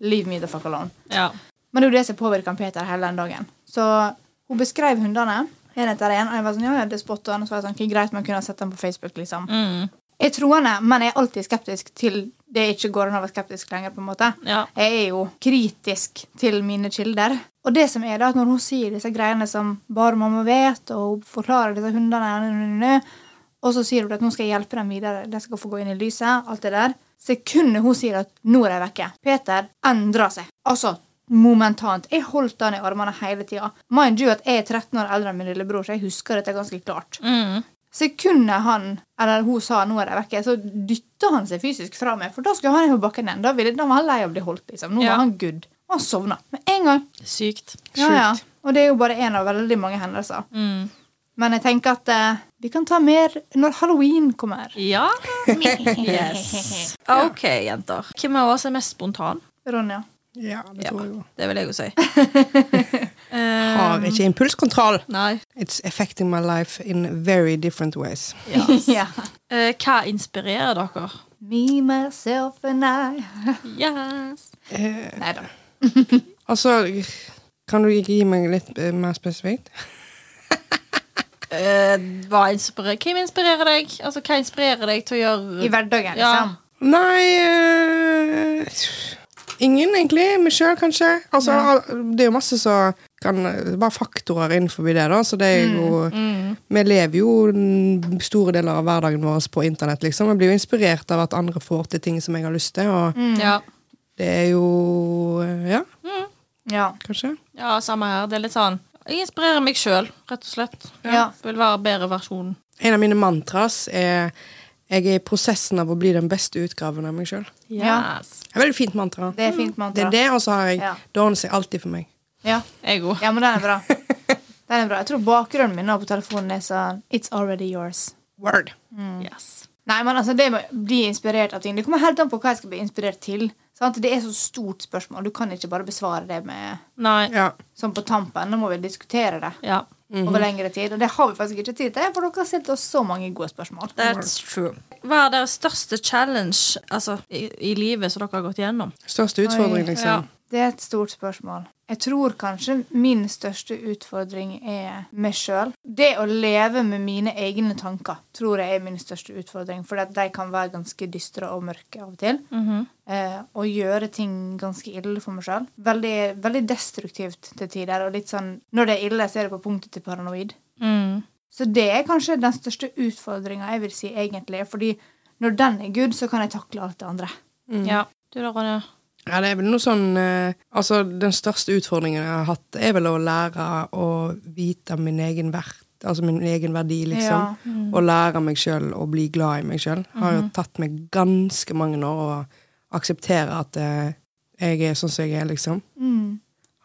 C: leave me the fuck alone.
B: Ja.
C: Men det er jo det som påvirker han Peter hele den dagen. Så hun beskrev hundene en etter en, og jeg var sånn, ja, ja, det er spot on. Og så var jeg sånn, ok, greit, man kunne ha sett dem på Facebook, liksom.
B: Mm.
C: Jeg er troende, men jeg er alltid skeptisk til det ikke går an å være skeptisk lenger, på en måte.
B: Ja.
C: Jeg er jo kritisk til mine kilder. Og det som er da, at når hun sier disse greiene som bare mamma vet, og hun forklarer disse hundene, nø, nø, nø, nø, og så sier hun at nå skal jeg hjelpe dem videre, de skal få gå inn i lyset, alt det der. Sekundet hun sier at nå er de vekke, Peter endrer seg. Altså, momentant. Jeg holdt han i armene hele tida. Mind you at jeg er 13 år eldre enn min lillebror, så jeg husker dette ganske klart.
B: Mm.
C: Sekundet han eller hun sa nå er de vekke, så dytta han seg fysisk fra meg. For da skulle han jo på bakken igjen. Da, ville, da var han lei av å bli holdt. liksom. Nå
B: Ja.
C: var han good. Og han sovna med en gang.
B: Sykt.
C: Ja, ja. Og det er jo bare én av veldig mange hendelser.
B: Mm.
C: Men jeg tenker at eh, vi kan ta mer når halloween kommer.
B: Ja. Yes. [LAUGHS] OK, jenter. Hvem av oss er mest spontan?
C: Ronja.
A: Ja, det
B: Ja.
A: tror jeg jo.
B: Det vil jeg jo si. Eh,
A: Har ikke impulskontroll.
B: nei.
A: It's affecting my life in very different ways.
C: ja.
B: Eh, hva inspirerer dere?
C: Me, myself and I.
B: Yes.
A: Eh,
C: Nei da.
A: altså, kan du ikke gi meg litt eh, mer spesifikt?
B: Eh, hva inspirerer Hvem inspirerer deg? Altså, hva inspirerer deg til å gjøre
C: I hverdagen,
B: Ja.
C: liksom.
A: Nei eh, Ingen, egentlig. Meg sjøl, kanskje. Altså, Det er jo masse som kan være faktorer innenfor det, da. Så det er jo Vi lever jo n- store deler av hverdagen vår på internett, liksom. Jeg blir jo inspirert av at andre får til ting som jeg har lyst til, og
B: ja.
A: det er jo eh, Ja,
C: Ja.
A: kanskje.
B: ja, samme her. Det er litt sånn Jeg inspirerer meg sjøl, rett og slett.
C: Ja.
B: Vil være bedre versjon.
A: En av mine mantras er jeg er i prosessen av å bli den beste utgaven av meg sjøl.
C: Ja.
B: Yes.
A: Et veldig fint mantra.
C: Det er fint
A: Det
C: mantra.
A: er det, og så har jeg
C: Ja.
A: Det ordner seg alltid for meg.
C: Ja.
B: Jeg òg.
C: ja, men den er bra. Den er bra. Jeg tror bakgrunnen min nå på telefonen er sånn It's already yours.
A: Word.
C: Mm.
B: Yes.
C: Nei, men altså det med å bli inspirert av ting Det kommer helt an på hva jeg skal bli inspirert til. Sant? Det er så stort spørsmål. Du kan ikke bare besvare det med
B: Nei.
A: Ja.
C: sånn på tampen. Nå må vi diskutere det
B: Ja.
C: over lengre tid. Og det har vi faktisk ikke tid til, for dere har stilt oss så mange gode spørsmål.
B: That's true. Hva er deres største challenge altså, i, i livet som dere har gått gjennom?
A: Største utfordring,
C: Oi,
A: liksom.
C: Det er et stort spørsmål. Jeg tror kanskje min største utfordring er meg sjøl. Det å leve med mine egne tanker tror jeg er min største utfordring. For at de kan være ganske dystre og mørke av og til. eh, og gjøre ting ganske ille for meg sjøl. Veldig, veldig destruktivt til tider. Og litt sånn Når det er ille, så er det på punktet til paranoid.
B: Mm.
C: Så det er kanskje den største utfordringa jeg vil si,
B: Mm.
C: egentlig. Fordi når den er good, så kan jeg takle alt det andre.
B: Ja. Du da, Ronja?
A: Ja, det er vel noe sånn eh, Altså, den største utfordringen jeg har hatt, er vel å lære å vite min egen verdt. Altså min egen verdi, liksom.
C: Ja. Mm. Mhm.
A: Og lære meg sjøl å bli glad i meg sjøl. Det har jo tatt meg ganske mange år å akseptere at eh, jeg er sånn som jeg er, liksom.
C: Mm.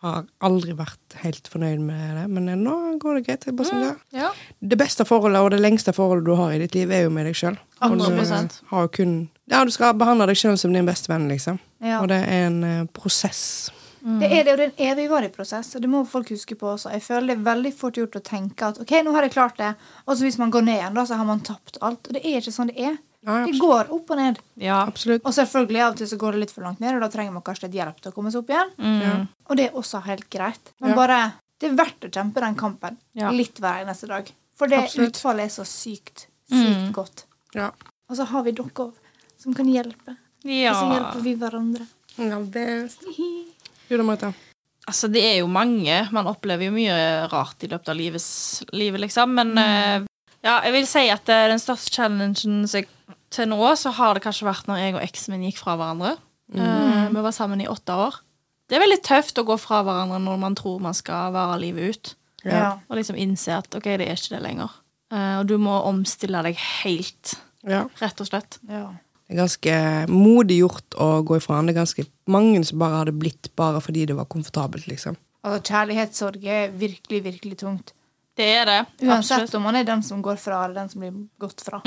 A: Har aldri vært helt fornøyd med det, men eh, nå går det greit. Det, er bare sånn, det er.
B: Ja.
A: det beste forholdet og det lengste forholdet du har i ditt liv, er jo med deg sjøl.
B: 100%.
A: Har jo kun Ja, du skal behandle deg sjøl som din beste venn, liksom.
C: Ja.
A: Og det er en eh, prosess.
C: Det er det, og det er en evigvarig prosess, og det må folk huske på også. Jeg føler det er veldig fort gjort å tenke at ok, nå har jeg klart det, og så hvis man går ned igjen, da, så har man tapt alt. Og det er ikke sånn det er.
A: Nei,
C: Det går opp og ned.
B: Ja.
A: Absolutt.
C: Og selvfølgelig av og til så går det litt for langt ned, og da trenger man kanskje litt hjelp til å komme seg opp igjen.
B: Mm.
A: Ja.
C: Og det er også helt greit. Men
A: Ja.
C: bare det er verdt å kjempe den kampen
B: Ja.
C: litt hver eneste dag. For det
A: Absolutt.
C: utfallet er så sykt, sykt godt.
A: Ja.
C: Og så har vi dere òg, som kan hjelpe. Og så
B: ja.
C: hjelper vi hverandre.
A: best. Du da, Marita?
B: Altså, det er jo mange. Man opplever jo mye rart i løpet av livets, livet, liksom. Men eh, ja, jeg vil si at eh, den største challengen som jeg, til nå, så har det kanskje vært når jeg og eksen min gikk fra hverandre. Eh, vi var sammen i åtte år. Det er veldig tøft å gå fra hverandre når man tror man skal vare livet ut.
C: Ja.
B: Og liksom innse at ok, det er ikke det lenger. Eh, og du må omstille deg helt,
A: Ja.
B: rett og slett.
C: Ja.
A: Det er ganske modig gjort å gå ifra han. Det er ganske mange som bare hadde blitt bare fordi det var komfortabelt, liksom.
C: Altså, kjærlighetssorg er virkelig, virkelig tungt.
B: Det er det.
C: Uansett om man er den som går fra, eller den som blir gått fra.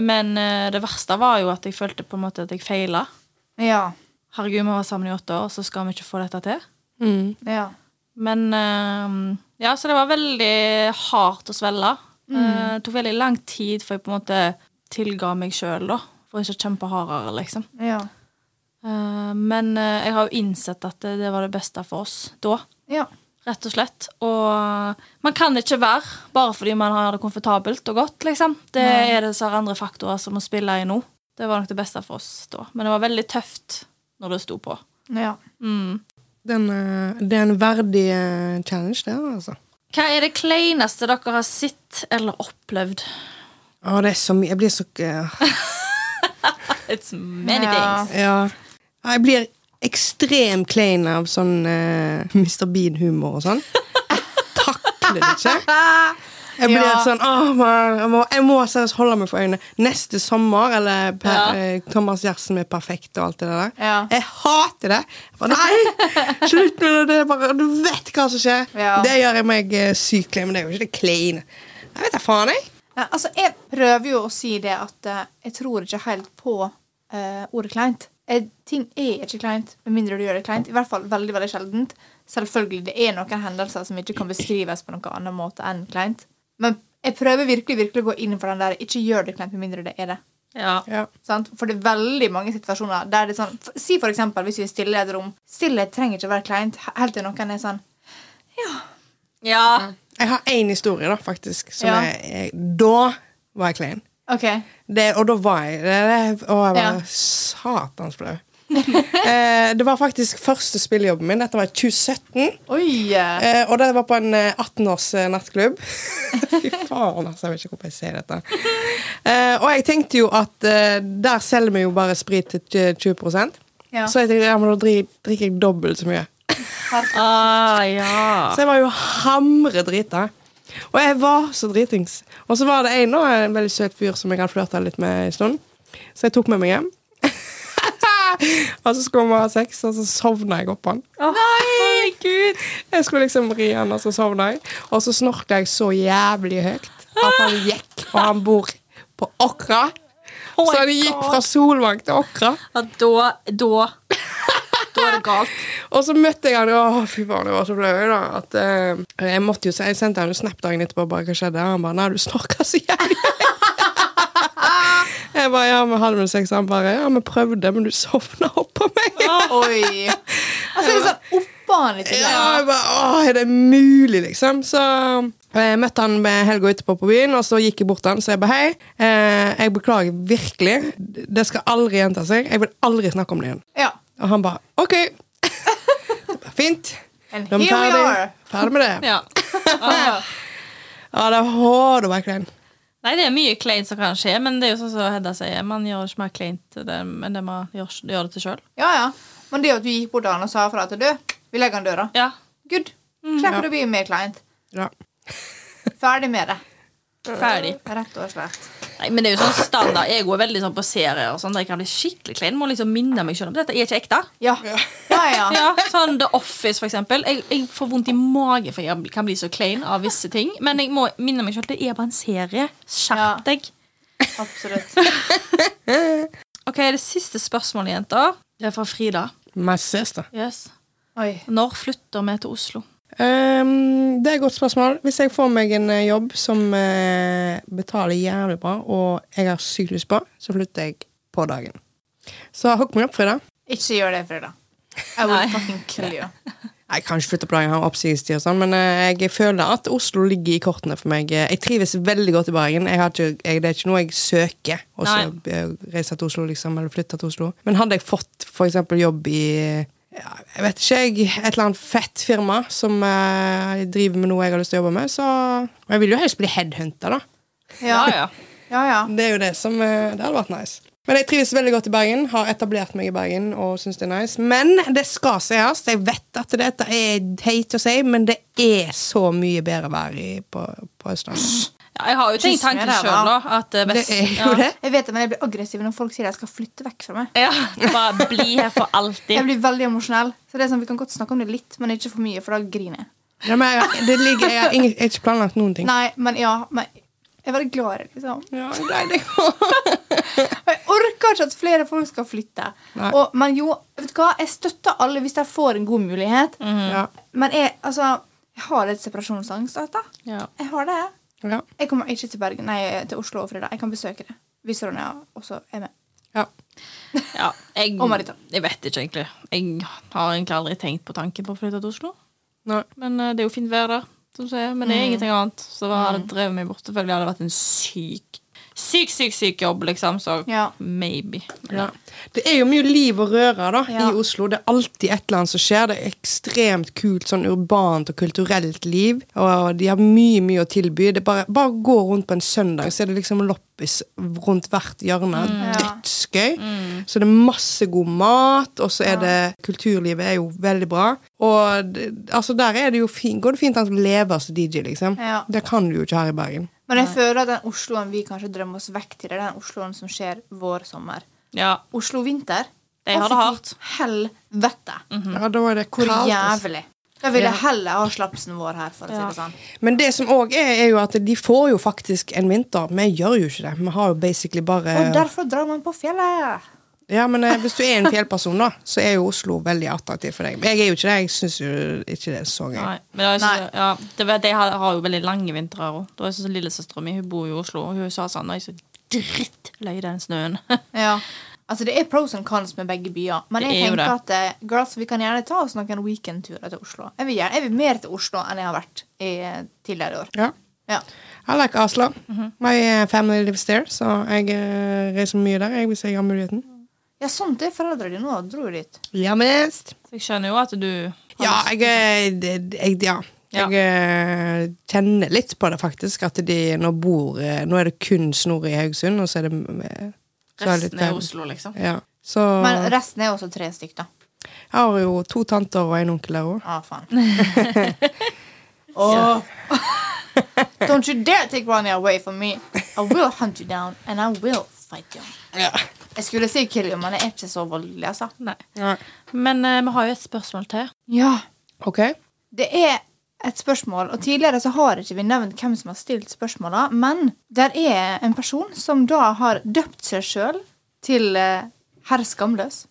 B: Men eh, det verste var jo at jeg følte på en måte at jeg feila.
C: Ja.
B: Herregud, vi var sammen i åtte år, så skal vi ikke få dette til?
C: Ja.
B: Men eh, Ja, så det var veldig hardt å svelge. Eh, Det tok veldig lang tid før jeg på en måte tilga meg sjøl, da. For ikke å kjempe hardere, liksom.
C: Ja.
B: Eh, men eh, jeg har jo innsett at det, det var det beste for oss da.
C: Ja.
B: Rett og slett. Og man kan ikke være bare fordi man har det komfortabelt og godt, liksom. Det er det så andre faktorer som må spille i nå. Det var nok det beste for oss da. Men det var veldig tøft når det sto på.
C: ja.
B: Mm.
A: Den, eh, det er en verdig eh, challenge, det, altså.
B: Hva er det kleineste dere har sett eller opplevd?
A: Å, det er så mye Jeg blir så eh,
B: It's many
C: Ja.
B: things.
A: Ja. Jeg blir ekstremt klein av sånn eh, Mr. Bean-humor og sånn. Jeg takler det ikke. Jeg blir
C: Ja.
A: sånn «Åh, man, Jeg må, jeg må seriøst holde meg for øynene. Neste sommer, eller per,
B: Ja.
A: eh, Thomas Gjertsen med Perfekt og alt det der.
C: Ja.
A: Jeg hater det. Jeg bare, nei! Slutt med det. det er bare, du vet hva som skjer.
C: Ja.
A: Det gjør jeg meg eh, sykt klein, men det er jo ikke det kleine. Jeg vet da faen, jeg.
C: Nei, altså, jeg prøver jo å si det at eh, jeg tror ikke helt på eh, ordet kleint. Eh, ting er ikke kleint, med mindre du gjør det kleint. I hvert fall veldig veldig sjeldent. Selvfølgelig, det er noen hendelser som ikke kan beskrives på noen annen måte enn kleint. Men jeg prøver virkelig virkelig å gå inn for den der 'ikke gjør det kleint med mindre det er det'.
B: Ja.
A: Ja.
C: Sant? For det er veldig mange situasjoner der det er sånn f- Si for eksempel hvis vi er stille i et rom. Stillhet trenger ikke å være kleint. he- Helt til noen er sånn
B: ja.
A: Jeg har én historie, da, faktisk. Som
C: Ja.
A: jeg, jeg, da var jeg klein.
C: OK.
A: Det, og da var jeg det, det, Og jeg
C: Ja.
A: var satans flau. [LAUGHS] eh, det var faktisk første spillejobben min. Dette var i 2017.
C: Oi! eh,
A: Eh, og det var på en eh, 18-års eh, nattklubb. [LAUGHS] Fy faen, altså. Jeg vet ikke hvorfor jeg sier dette. Eh, og jeg tenkte jo at eh, der selger vi jo bare sprit til tj- 20
C: Ja.
A: Så jeg tenkte ja, men da dri- drikker jeg dobbelt så mye.
B: Ah, ja.
A: Så jeg var jo hamre drita. Og jeg var så dritings. Og så var det en, da, en veldig søt fyr som jeg hadde flørta litt med en stund. Så jeg tok med meg hjem. [LAUGHS] og så skulle vi ha sex, og så sovna jeg oppå han.
B: Nei, gud.
A: Jeg skulle liksom ri han, og så sovna jeg. Og så snorka jeg så jævlig høyt at han gikk, og han bor på Åkra.
B: Oh
A: Så
B: my
A: han gikk
B: God.
A: fra Solvang til Åkra.
B: Ja, da, da Da er det galt.
A: Og så møtte jeg han jo, å fy faen, jeg var så flau, jeg da. At, eh, jeg, måtte jo, se- jeg sendte han jo snap dagen etterpå, bare hva skjedde? Han bare, nei, du snorka så jævlig. [LAUGHS] jeg bare, ja, men hadde vi sex? Han bare, ja, vi prøvde, men du sovna oppå meg.
C: Oi! Altså, det er sånn oppå han litt.
A: [LAUGHS] Ja, jeg bare, Åh, er det mulig, liksom? Så eh, jeg møtte han med helga etterpå på byen, og så gikk jeg bort til han så jeg bare hei. Eh, jeg beklager virkelig. Det skal aldri gjenta seg. Jeg vil aldri snakke om det igjen.
C: Ja.
A: Og han bare OK. Så bare, [LAUGHS] Fint.
C: And
A: Da er vi
C: here we
A: ferdig.
C: are.
A: Ferdig med det.
B: Ja. Ah.
A: Ja, det var det var klein.
B: Nei, det er mye kleint som kan skje, men det er jo sånn som Hedda sier, man gjør ikke mer kleint til det, enn det man gjør, gjør det til sjøl.
C: Ja, ja. Men det at du gikk bort til han og sa fra at du Vi legger han i døra.
B: Ja.
C: Good. Slipper du å bli mer kleint.
A: Ja.
C: Ferdig med det.
B: Ferdig.
C: Rett og slett.
B: Nei, men det er jo sånn standard. Jeg går veldig sånn på serier og sånn der jeg kan bli skikkelig klein. Må liksom minne meg selv om dette. Jeg er ikke ekte.
C: Ja. Ja, ja.
B: Ja, sånn The Office, for eksempel. Jeg, jeg får vondt i magen for jeg kan bli så klein av visse ting. Men jeg må minne meg selv det er bare en serie.
C: Ja.
B: Skjerp deg.
C: Absolutt.
B: Ok, Det siste spørsmålet, jenter, det er fra Frida.
A: My sister.
B: Yes.
C: Oi.
B: Når flytter vi til Oslo?
A: Ehm, det er et godt spørsmål. Hvis jeg får meg en eh, jobb som eh, betaler jævlig bra, og jeg har sykt lyst på, så flytter jeg på dagen. Så hook meg opp, Frida.
C: Ikke gjør det, Frida. I
B: Nei.
C: will fucking kill you.
A: Jeg kan ikke flytte på dagen, jeg har oppsigelsestid og sånn, men eh, jeg føler at Oslo ligger i kortene for meg. Eh, Jeg trives veldig godt i Bergen. Jeg har ikke, jeg, det er ikke noe jeg søker, å eh,
B: Nei.
A: reise til Oslo, liksom, eller flytte til Oslo. Men hadde jeg fått for eksempel jobb i ja, jeg vet ikke, jeg, et eller annet fett firma som eh, driver med noe jeg har lyst til å jobbe med, så Og jeg vil jo helst bli headhunta, da.
C: Ja,
B: ja.
C: ja. ja.
A: Det er jo det som eh, Det hadde vært nice. Men jeg trives veldig godt i Bergen, har etablert meg i Bergen og syns det er nice. Men det skal sies, jeg vet at dette er teit å si, men det er så mye bedre vær i, på, på Østlandet.
B: Ja, Jeg har jo tenkt
C: Kyss meg
B: tanken
C: der,
B: sjøl, da. At eh,
A: Det
B: vest,
A: er jo det.
C: Jeg vet det, men jeg blir aggressiv når folk sier jeg skal flytte vekk fra meg.
B: Ja. ja, Bare bli her for
C: Jeg
B: alltid.
C: blir veldig emosjonell. Så det er sånn, Vi kan godt snakke om det litt, men ikke for mye, for da griner jeg.
A: Ja, men jeg, det ligger, jeg har ingen, jeg har ikke planlagt noen ting.
C: Nei, men ja, men jeg er veldig glad i det, liksom.
A: Ja, nei, det,
C: Og jeg orker ikke at flere folk skal flytte.
A: Nei.
C: Og, men jo, vet du hva? Jeg støtter alle hvis de får en god mulighet.
A: ja,
C: Men jeg, altså, jeg har litt separasjonsangst. Vet du.
B: Ja.
C: Jeg har det.
A: ja,
C: Jeg kommer ikke til Bergen, nei, til Oslo og fredag. Jeg kan besøke det. Hvis Ronja også er med.
A: ja.
B: Ja, jeg,
C: Og Marita.
B: jeg vet ikke, egentlig. Jeg har egentlig aldri tenkt på tanken på å flytte til Oslo.
A: Nei.
B: Men eh, det er jo fint vær der, som du sier. Men det er ingenting annet. Så da hadde jeg drevet meg bort. Selvfølgelig hadde det vært en syk, syk, syk syk jobb, liksom. Så
C: Ja.
B: maybe. Men,
A: Ja. Det er jo mye liv og røre da,
C: Ja.
A: i Oslo. Det er alltid et eller annet som skjer. Det er ekstremt kult sånn urbant og kulturelt liv. Og de har mye mye å tilby. Det er bare, bare gå rundt på en søndag, så er det liksom loppis rundt hvert hjørne.
C: Mm.
A: Dødsgøy. Så det er masse god mat, og så er det Kulturlivet er jo veldig bra. Og det, altså der er det jo fin, går det fint an å leve som DJ, liksom.
C: Ja.
A: Det kan du jo ikke her i Bergen.
C: Men jeg føler at den Osloen vi kanskje drømmer oss vekk til, det er den Osloen som skjer vår sommer.
B: ja.
C: Oslo vinter
B: De har det
C: Å,
B: hardt.
C: fy Helvete!
B: Mhm.
A: Ja, da er det
C: Mhm. Hvor
A: kaldt, altså.
C: jævlig. Da vil jeg heller ha slapsen vår her, for å si
B: Ja.
C: det sånn.
A: Men det som òg er, er jo at de får jo faktisk en vinter. Vi gjør jo ikke det. Vi har jo basically bare
C: Og derfor drar man på fjellet!
A: Ja, men eh, hvis du er en fjellperson, da, så er jo Oslo veldig attraktiv for deg. Men jeg er jo ikke det. Jeg syns jo ikke det er så gøy.
B: Nei. Men jeg synes,
C: Nei.
B: ja, det, vet- de har, har jo veldig lange vintre òg. Lillesøstera mi hun bor jo i Oslo, og hun sa sånn Nå er jeg så drittlei den snøen. [LAUGHS]
C: Ja. Altså, det er pros and cons med begge byer. Men
B: Det
C: jeg
B: er jo
C: tenker at eh, girls, vi kan gjerne ta oss noen weekendturer til Oslo. Jeg vil, gjerne, jeg vil mer til Oslo enn jeg har vært i eh, tidligere år.
A: Ja.
C: Ja.
A: I like Oslo.
B: Mhm.
A: My eh, family lives there, så jeg eh, reiser mye der jeg, hvis jeg har muligheten.
C: ja, sånt er foreldrene dine òg. Dro jo dit.
A: Ja, mest.
B: Så jeg skjønner jo at du har
A: Ja,
B: lyst-
A: jeg, eh, det- jeg Ja.
B: Ja.
A: Jeg eh, kjenner litt på det, faktisk. At de nå bor eh, Nå er det kun Snorre i Haugesund, og så er det eh, så er det
B: Resten er
A: litt-
B: Oslo, liksom.
A: Ja. Så
C: Men resten er også tre stykk, da.
A: Jeg har jo to tanter og en onkel der òg.
C: Ah, faen. Åh. [LAUGHS] Don't you dare take Ronny away from me. I will hunt you down, and I will fight you. Jeg skulle si kill you, men jeg er ikke så voldelig, altså.
B: Nei.
A: Ja.
B: Men eh, vi har jo et spørsmål til.
C: Ja,
A: OK?
C: Det er et spørsmål, og tidligere så har ikke vi nevnt hvem som har stilt spørsmåla, men der er en person som da har døpt seg sjøl til eh, herr Skamløs.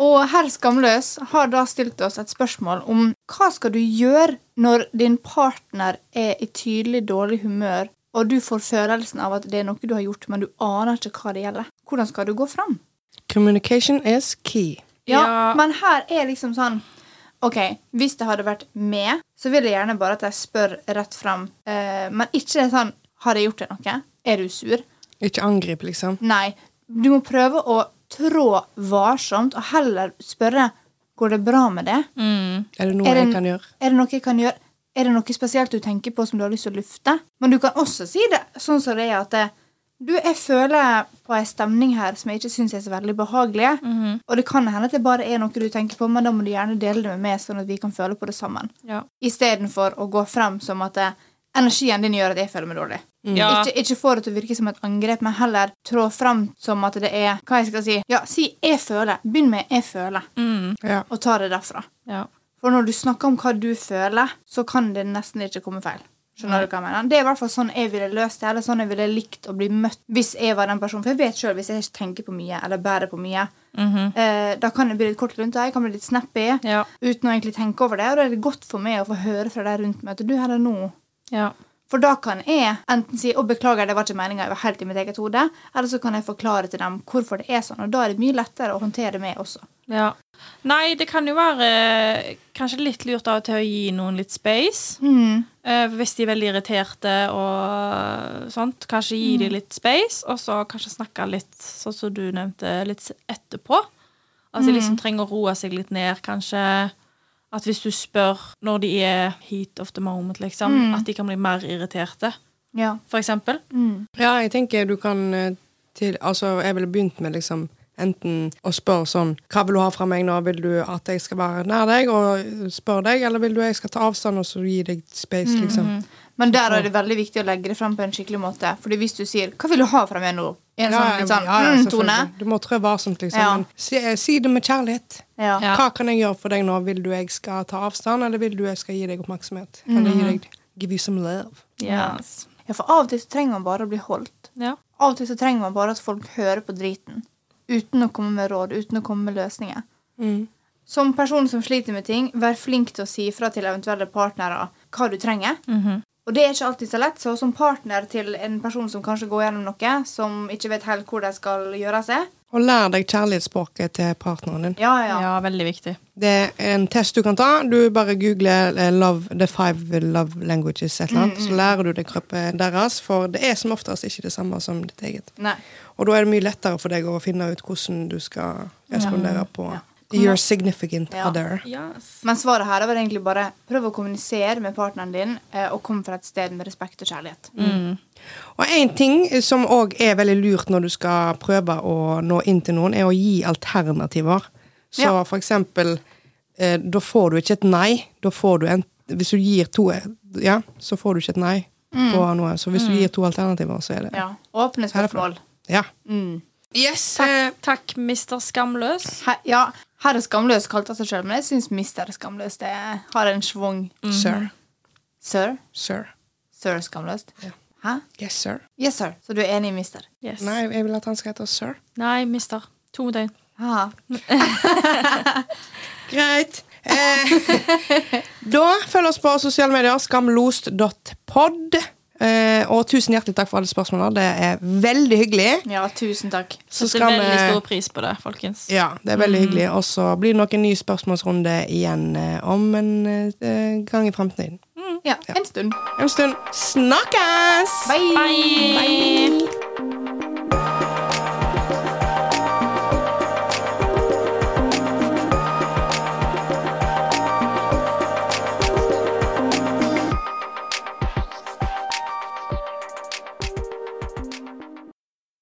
C: Og herr Skamløs har da stilt oss et spørsmål om hva skal du gjøre når din partner er i tydelig dårlig humør, og du får følelsen av at det er noe du har gjort, men du aner ikke hva det gjelder. Hvordan skal du gå fram?
A: Communication is key.
C: Ja,
B: Ja.
C: men her er liksom sånn Ok, hvis det hadde vært med, så vil jeg gjerne bare at jeg spør rett fram. eh, men ikke sånn Har jeg gjort deg noe? Er du sur?
A: Ikke angrip, liksom.
C: Nei. Du må prøve å trå varsomt og heller spørre Går det bra med det?
A: Er det noe
C: Er det-
A: jeg kan gjøre?
C: Er det noe jeg kan gjøre? Er det noe spesielt du tenker på som du har lyst til å lufte? Men du kan også si det sånn som det er at eh, du, jeg føler og en stemning her som jeg ikke syns er så veldig behagelig. Og det kan hende at det bare er noe du tenker på, men da må du gjerne dele det med meg, sånn at vi kan føle på det sammen.
B: Ja.
C: Istedenfor å gå frem som at eh, energien din gjør at jeg føler meg dårlig.
B: Ja.
C: Ikke, ikke få det til å virke som et angrep, men heller trå frem som at det er Hva jeg skal si? Ja, si 'jeg føler'. Begynn med 'jeg føler',
B: Mm.
A: Ja.
C: og ta det derfra.
B: ja.
C: For når du snakker om hva du føler, så kan det nesten ikke komme feil. Skjønner du hva jeg mener? Det er i hvert fall sånn jeg ville løst det, eller sånn jeg ville likt å bli møtt hvis jeg var den personen. For jeg vet sjøl, hvis jeg ikke tenker på mye, eller bærer på mye, eh, da kan jeg bli litt kort rundt det, jeg kan bli litt snappy
B: Ja.
C: uten å egentlig tenke over det. Og da er det godt for meg å få høre fra de rundt meg at du, her er nå.
B: ja.
C: For da kan jeg enten si å beklager, det var ikke meninga, jeg var helt i mitt eget hode, eller så kan jeg forklare til dem hvorfor det er sånn, og da er det mye lettere å håndtere meg også.
B: Ja. Nei, det kan jo være eh, kanskje litt lurt av og til å gi noen litt space.
C: Mm.
B: eh, hvis de er veldig irriterte og sånt. Kanskje gi
C: Mm.
B: dem litt space, og så kanskje snakke litt, sånn som du nevnte, litt etterpå. At de
C: Mm.
B: liksom trenger å roe seg litt ned, kanskje. At hvis du spør når de er heat of the moment, liksom, at de kan bli mer irriterte,
C: Ja.
B: for eksempel.
C: Mm.
A: Ja, jeg tenker du kan eh, til, Altså, jeg ville begynt med liksom Enten å spørre sånn Hva vil du ha fra meg nå? Vil du at jeg skal være nær deg og eh, spørre deg, eller vil du jeg skal ta avstand og så gi deg space, liksom?
C: Men der er det veldig viktig å legge det frem på en skikkelig måte. Fordi hvis du sier 'Hva vil du ha fra meg nå?' i en sånn, litt sånn mm,
A: selvfølgelig.
C: tone.
A: Du må trå varsomt, liksom.
C: Ja.
A: Men si, eh, si det med kjærlighet.
C: Ja.
B: Ja.
A: Hva kan jeg gjøre for deg nå? Vil du jeg skal ta avstand, eller vil du jeg skal gi deg oppmerksomhet?
C: Mm.
A: Kan jeg gi deg Give you some love.
B: Yes.
C: ja, for av og til så trenger man bare å bli holdt.
B: Ja.
C: Av og til så trenger man bare at folk hører på driten. Uten å komme med råd, uten å komme med løsninger.
A: Mm.
C: Som person som sliter med ting, vær flink til å si ifra til eventuelle partnere hva du trenger.
A: Mhm.
C: Og det er ikke alltid så lett, så som partner til en person som kanskje går gjennom noe, som ikke vet helt hvor de skal gjøre seg
A: Og lær deg kjærlighetsspråket til partneren din.
C: Ja, ja.
B: ja, veldig viktig.
A: Det er en test du kan ta. Du bare googler eh, love, 'The five love languages', et eller
C: Mm.
A: annet, så lærer du deg kroppen deres. For det er som oftest ikke det samme som ditt eget.
C: Nei.
A: Og da er det mye lettere for deg å finne ut hvordan du skal respondere på your significant
C: Ja.
A: other.
B: Yes.
C: Men svaret her var egentlig bare prøv å kommunisere med partneren din, eh, og kom fra et sted med respekt og kjærlighet.
A: Og en ting som òg er veldig lurt når du skal prøve å nå inn til noen, er å gi alternativer. Så
C: Ja.
A: for eksempel eh, Da får du ikke et nei. Da får du en Hvis du gir to Ja, så får du ikke et nei på noe. Så hvis du gir to alternativer, så er det
C: Mm. Ja. Åpne spørsmål.
A: Ja.
C: Mm.
A: Yes!
C: eh,
B: Takk, takk, Mr. Skamløs.
C: He, ja, Herr Skamløs kalte han seg sjøl, men jeg syns Mister Skamløs det har en schwung.
A: Sir.
C: Sir?
A: Sir.
C: Sir Skamløst?
A: Ja.
C: Hæ?
A: Yes, sir.
C: Yes, sir. Så du er enig i Mister?
B: Yes.
A: Nei, jeg vil at han skal hete sir.
B: Nei, mister. To døgn.
C: Haha.
A: Greit. Eh, da følg oss på sosiale medier, skamlost.pod. Eh, og tusen hjertelig takk for alle spørsmålene. Det er veldig hyggelig.
C: Ja, tusen takk.
A: Så
B: Setter
A: skal
B: veldig stor
A: vi
B: pris Mm. på det, folkens.
A: ja, det er veldig hyggelig. Og så blir det nok en ny spørsmålsrunde igjen eh, om en eh, gang i fremtiden.
C: Ja, en stund.
A: En stund. Snakkes!
C: Bye!
B: Bye.